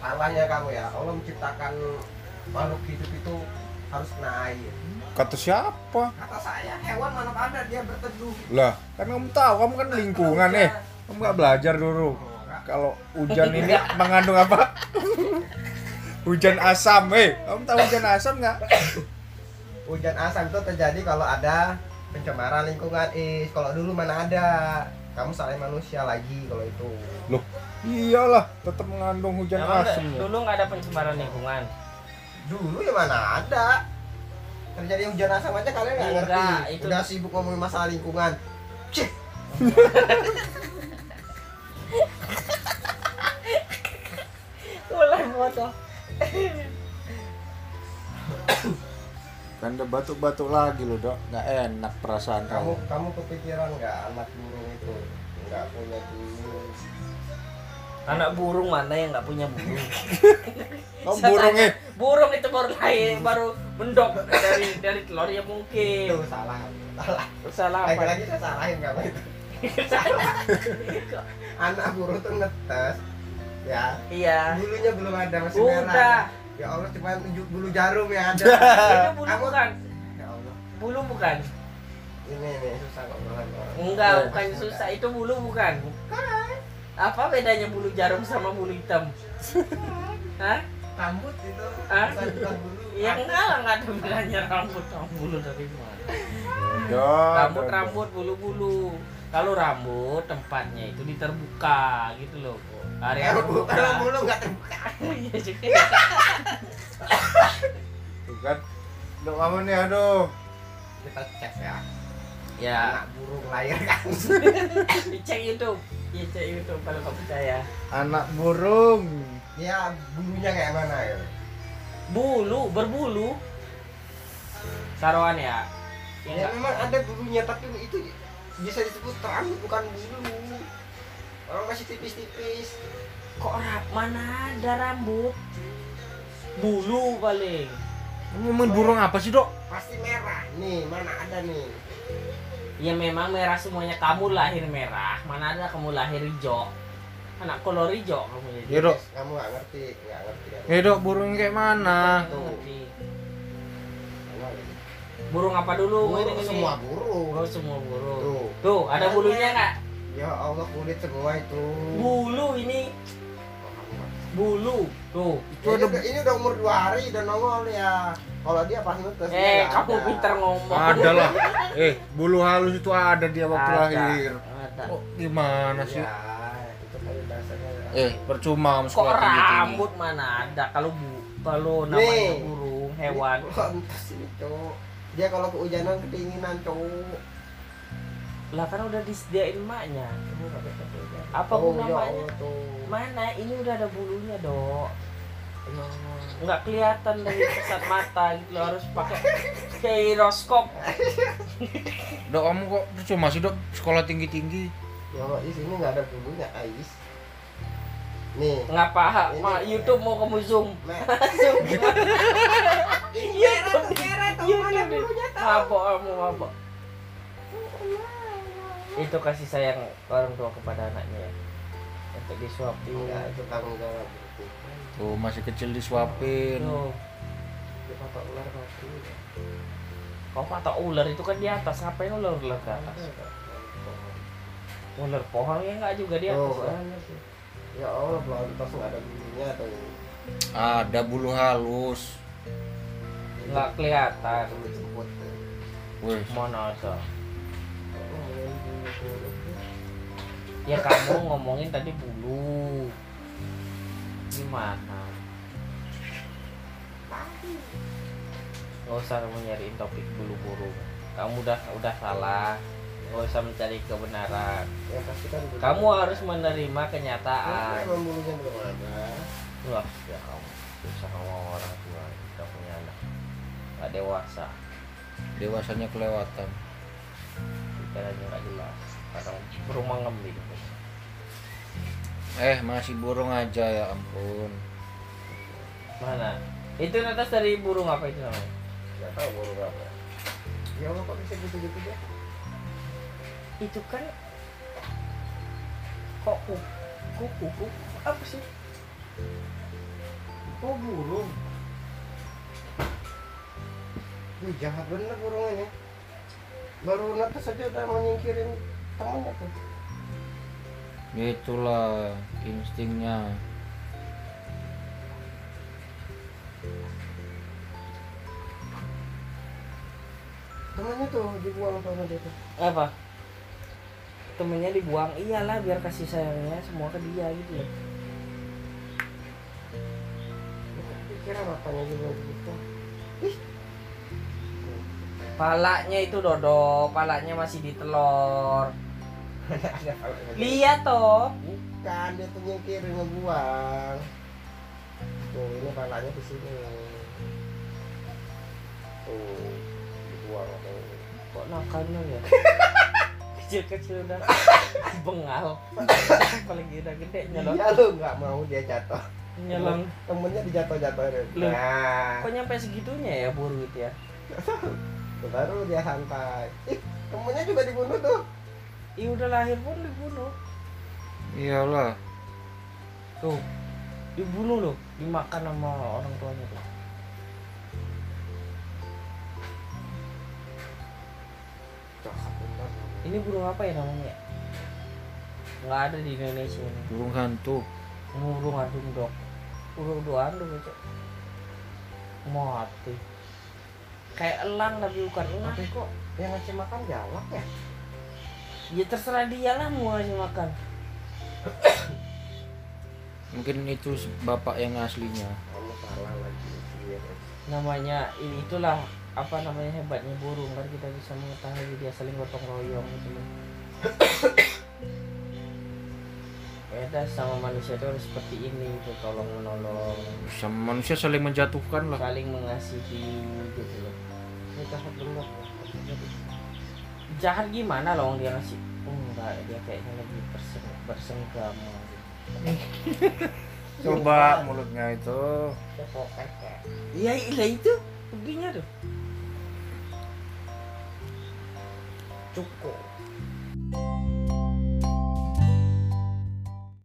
salahnya kamu ya Allah menciptakan makhluk hidup itu harus kena air Kata siapa? kata saya hewan mana pada dia berteduh Lah, kan kamu tahu, kamu kan lingkungan eh. Iya. Kamu nggak belajar dulu. Kalau hujan ini mengandung apa? hujan asam, eh. Kamu tahu hujan asam nggak? hujan asam itu terjadi kalau ada pencemaran lingkungan is kalau dulu mana ada kamu saling manusia lagi kalau itu Loh, iyalah, tetap mengandung hujan Emang nggak- asam. ya. dulu nggak ada pencemaran lingkungan. dulu ya mana ada terjadi hujan asam aja kalian nggak ngerti Enggak, itu- udah sibuk ngomongin masalah lingkungan Cih, Mulai foto. Kan udah batuk-batuk lagi loh, Dok. Nggak enak perasaan kamu kamu. kamu kepikiran nggak anak burung itu nggak punya dulu Anak burung mana yang nggak punya burung? Kamu Saya burung, tanya, eh. Burung itu baru lahir, baru mendok dari dari telurnya mungkin. itu salah salah Salah apa? lagi-lagi saya salahin kamu itu salah anak burung tuh netes ya Iya. bulunya belum ada masih merah Udah. ya Allah cuma tunjuk bulu jarum ya ada Itu bulu Kamu- bukan. ya Allah Bulu bukan. ini ini susah ngobrolan orang. Enggak, Oh, bukan susah. Itu bulu bukan. Apa bedanya bulu jarum sama bulu hitam? Hah? rambut itu Ah? bukan bukan bulu Ya enggak lah, enggak ada bedanya rambut sama bulu dari mana. Dok, rambut dok, dok. rambut bulu bulu kalau rambut tempatnya itu diterbuka gitu loh area Rambut- terbuka kalau bulu nggak terbuka Iya juga. Tuh kan. Dok, kamu nih aduh. kita cek ya ya anak burung lahir kan dicek YouTube ya cek YouTube kalau nggak percaya Anak burung. ya bulunya kayak mana ya bulu berbulu saruan ya ya ya enggak memang ada bulunya tapi itu bisa disebut rambut bukan bulu orang masih tipis-tipis kok ra- mana ada rambut bulu paling Kamu ngomongin burung apa sih, Dok? pasti merah nih mana ada nih ya memang merah semuanya kamu lahir merah mana ada kamu lahir hijau anak kolor hijau kamu jadi Ya, Dok. kamu nggak ngerti nggak ngerti kan Eh, Dok, burung kayak Iya. mana? Nggak ngerti. Kamu nggak ngerti. burung apa dulu burung Ini, ini. semua burung Oh semua bulu. tuh Tuh ada bulunya nggak? ya Allah kulit semua itu Bulu ini Oh, kamu nggak- bulu. Tuh. ini, Itu ada udah, ini udah umur dua hari udah nongol ya kalau dia pasti ngetes Eh dia nggak kamu ada. pinter ngomong. ada lah. Eh, bulu halus itu ada dia waktu Ada. Iya. lahir. Ada. Oh, Kok gimana sih? ya itu kan dasarnya Eh, percuma kamu Kok sekolah tinggi-tinggi. rambut mana ada? Kalau bu, kalau namanya gitu. Nih. burung hewan. ngetes ini cowok dia kalau kehujanan kedinginan cowok Lah kan udah disediain emaknya. Kamu nggak bisa kehujanan. Apa oh, bunga ya emaknya? Allah, tuh. Mana? Ini udah ada bulunya dok. Ya Allah. Nggak kelihatan dari pesat mata gitu loh, harus pakai kiroskop. Dok, kamu kok percuma sih, Dok? Sekolah tinggi-tinggi. Ya Allah, Is, ini nggak ada bulunya, Ais. Nih, Ngapa? Ini- Ma, YouTube mau kamu zoom. Mer. Zoom. Ini Iya, merah dong. tuh, merah tuh, Iya, mana dong. bulunya tuh? Mabok kamu mabok. Itu kasih sayang orang tua kepada anaknya ya. Untuk disuapi Enggak, Iya, itu tanggung jawab. itu. Tuh, masih kecil disuapin. Tuh, Dia patok ular mati. kau patok ular itu kan di atas, ngapain ular ular ke atas? Oh, iya. Ular pohon ya enggak juga di atas. Tuh, kan? banyak sih. Oh, Ya Allah, belontos nggak ada bulunya tuh. Ada bulu halus. Enggak kelihatan. Bulu jemput tuh. Wih, Mana ada? Oh, ini bulu. Ya kamu ngomongin tadi bulu. Gimana? Gak usah kamu nyariin topik bulu burung. Kamu udah udah salah. Gak usah mencari kebenaran. Ya, pasti kan bulu. Kamu harus menerima Ini kenyataan. emang bulunya belum ada. Wah, ya kamu susah kamu orang tua kita punya anak. Gak dewasa, dewasanya kelewatan. pikirannya gak jelas. Kadang gitu. berumah ngembing. Eh, masih burung aja ya ampun. Mana? Itu netes dari burung apa itu namanya? Nggak tahu bulu berapa. Ya Allah, kok bisa gitu-gitu dia? Itu kan kok kuku kuku, kuku apa sih? Oh burung. Wih jahat bener burungnya. Baru netes aja udah mau nyingkirin tangannya tuh. Itulah instingnya. Temannya tuh dibuang sama dia tuh. apa temennya dibuang iyalah biar kasih sayangnya semua ke dia gitu ya Kira bapaknya juga gitu. palanya itu dodo palanya masih di telur Ada apa lagi? lihat toh Bukan dia tuh nyingkirin ngebuang. Tuh ini palanya di sini. Tuh dibuang tuh. kok nakalnya ya kecil kecil udah bengal apalagi udah gede nyelong Iya lu nggak mau dia jatuh. nyelong Temennya dijatuh-jatuhin. Lu. Nah. kok nyampe segitunya ya buru itu ya baru dia santai ih temennya juga dibunuh tuh Ih udah lahir pun dibunuh Iyalah. tuh dibunuh loh dimakan sama orang tuanya tuh ini burung apa ya namanya nggak ada di Indonesia ini Burung hantu. burung andung dok burung dua andung itu mati kayak elang tapi bukan elang tapi kok yang ngasih makan galak ya ya terserah dia lah mau ngasih makan Mungkin itu se- bapak yang aslinya. kamu salah lagi Iya, namanya ini itulah apa namanya hebatnya burung kan kita bisa mengetahui dia saling gotong royong gitu loh beda sama manusia itu harus seperti ini itu tolong menolong Sama manusia saling menjatuhkan lah. saling mengasihi gitu loh ini jahat bener jahat gimana loh dia ngasih oh, enggak dia kayaknya lebih berseng bersenggama gitu. Coba mulutnya itu. ya? iya iya itu begini tuh cukup